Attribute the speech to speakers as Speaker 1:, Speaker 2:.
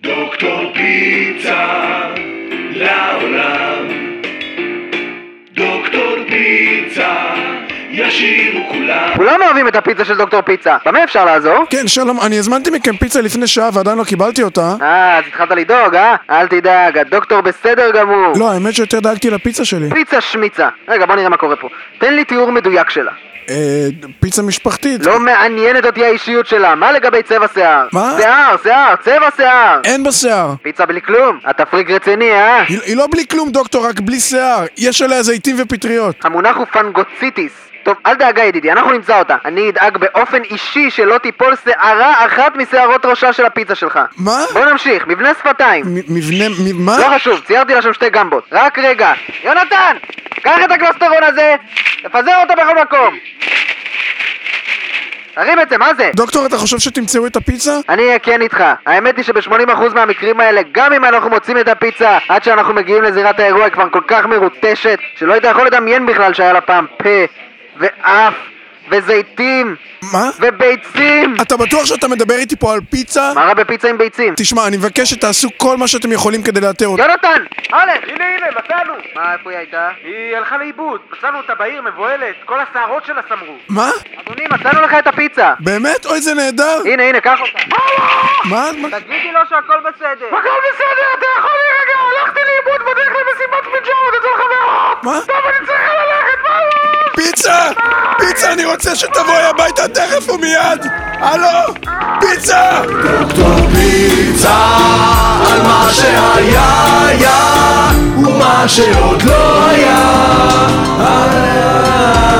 Speaker 1: דוקטור פיצה לעולם. דוקטור פיצה ישירו כולם.
Speaker 2: כולם אוהבים את הפיצה של דוקטור פיצה, במה אפשר לעזור?
Speaker 3: כן, שלום, אני הזמנתי מכם פיצה לפני שעה ועדיין לא קיבלתי אותה.
Speaker 2: אה, אז התחלת לדאוג, אה? אל תדאג, הדוקטור בסדר גמור.
Speaker 3: לא, האמת שיותר דאגתי לפיצה שלי.
Speaker 2: פיצה שמיצה. רגע, בוא נראה מה קורה פה. תן לי תיאור מדויק שלה.
Speaker 3: אה, פיצה משפחתית.
Speaker 2: לא מעניינת אותי האישיות שלה, מה לגבי צבע שיער?
Speaker 3: מה? אה?
Speaker 2: שיער, שיער, צבע שיער!
Speaker 3: אין בה שיער.
Speaker 2: פיצה בלי כלום? אתה פריק רציני, אה?
Speaker 3: היא, היא לא בלי כלום, דוקטור, רק בלי שיער. יש עליה זיתים ופטריות.
Speaker 2: המונח הוא פנגוציטיס. טוב, אל דאגה ידידי, אנחנו נמצא אותה. אני אדאג באופן אישי שלא תיפול שערה אחת משערות ראשה של הפיצה שלך.
Speaker 3: מה?
Speaker 2: בוא נמשיך, מבנה שפתיים.
Speaker 3: מ- מבנה... מ- מה?
Speaker 2: לא חשוב, ציירתי לה שם שתי גמבות. רק רגע. יונתן! קח את הגלוסטרון הזה! תפזר אותו בכל מקום! תרים את זה, מה זה?
Speaker 3: דוקטור, אתה חושב שתמצאו את הפיצה?
Speaker 2: אני אהיה כן איתך. האמת היא שב-80% מהמקרים האלה, גם אם אנחנו מוצאים את הפיצה, עד שאנחנו מגיעים לזירת האירוע היא כבר כל כך מרוטשת, שלא היית יכול לדמיין בכלל שהיה לה פעם פה, ואף, וזיתים,
Speaker 3: מה?
Speaker 2: וביצים!
Speaker 3: אתה בטוח שאתה מדבר איתי פה על פיצה?
Speaker 2: מה רע בפיצה עם ביצים?
Speaker 3: תשמע, אני מבקש שתעשו כל מה שאתם יכולים כדי לאתר אותה.
Speaker 2: יונתן! הלם!
Speaker 4: הנה, הנה, מצאנו!
Speaker 2: מה, איפה היא הייתה?
Speaker 4: היא הלכה לאיבוד, מצאנו אותה בעיר מבוהלת, כל השערות שלה סמרו.
Speaker 3: מה?
Speaker 2: אדוני, מצאנו לך את הפיצה!
Speaker 3: באמת? אוי, זה נהדר!
Speaker 2: הנה, הנה, קח אותה. לא.
Speaker 3: מה? מה?
Speaker 2: תגידי לו שהכל בסדר.
Speaker 4: הכל בסדר, אתה יכול להירגע, הלכתי לאיבוד בדרך למסיבת פיג'מות אצל חברות!
Speaker 3: מה?
Speaker 4: טוב, אני צריכה ללכת, ביי!
Speaker 3: פיצה! פיצה, אני רוצה שתבואי הביתה תכף ומיד! הלו? פיצה!
Speaker 1: דוקטור פיצה על מה שהיה היה ומה שעוד לא היה היה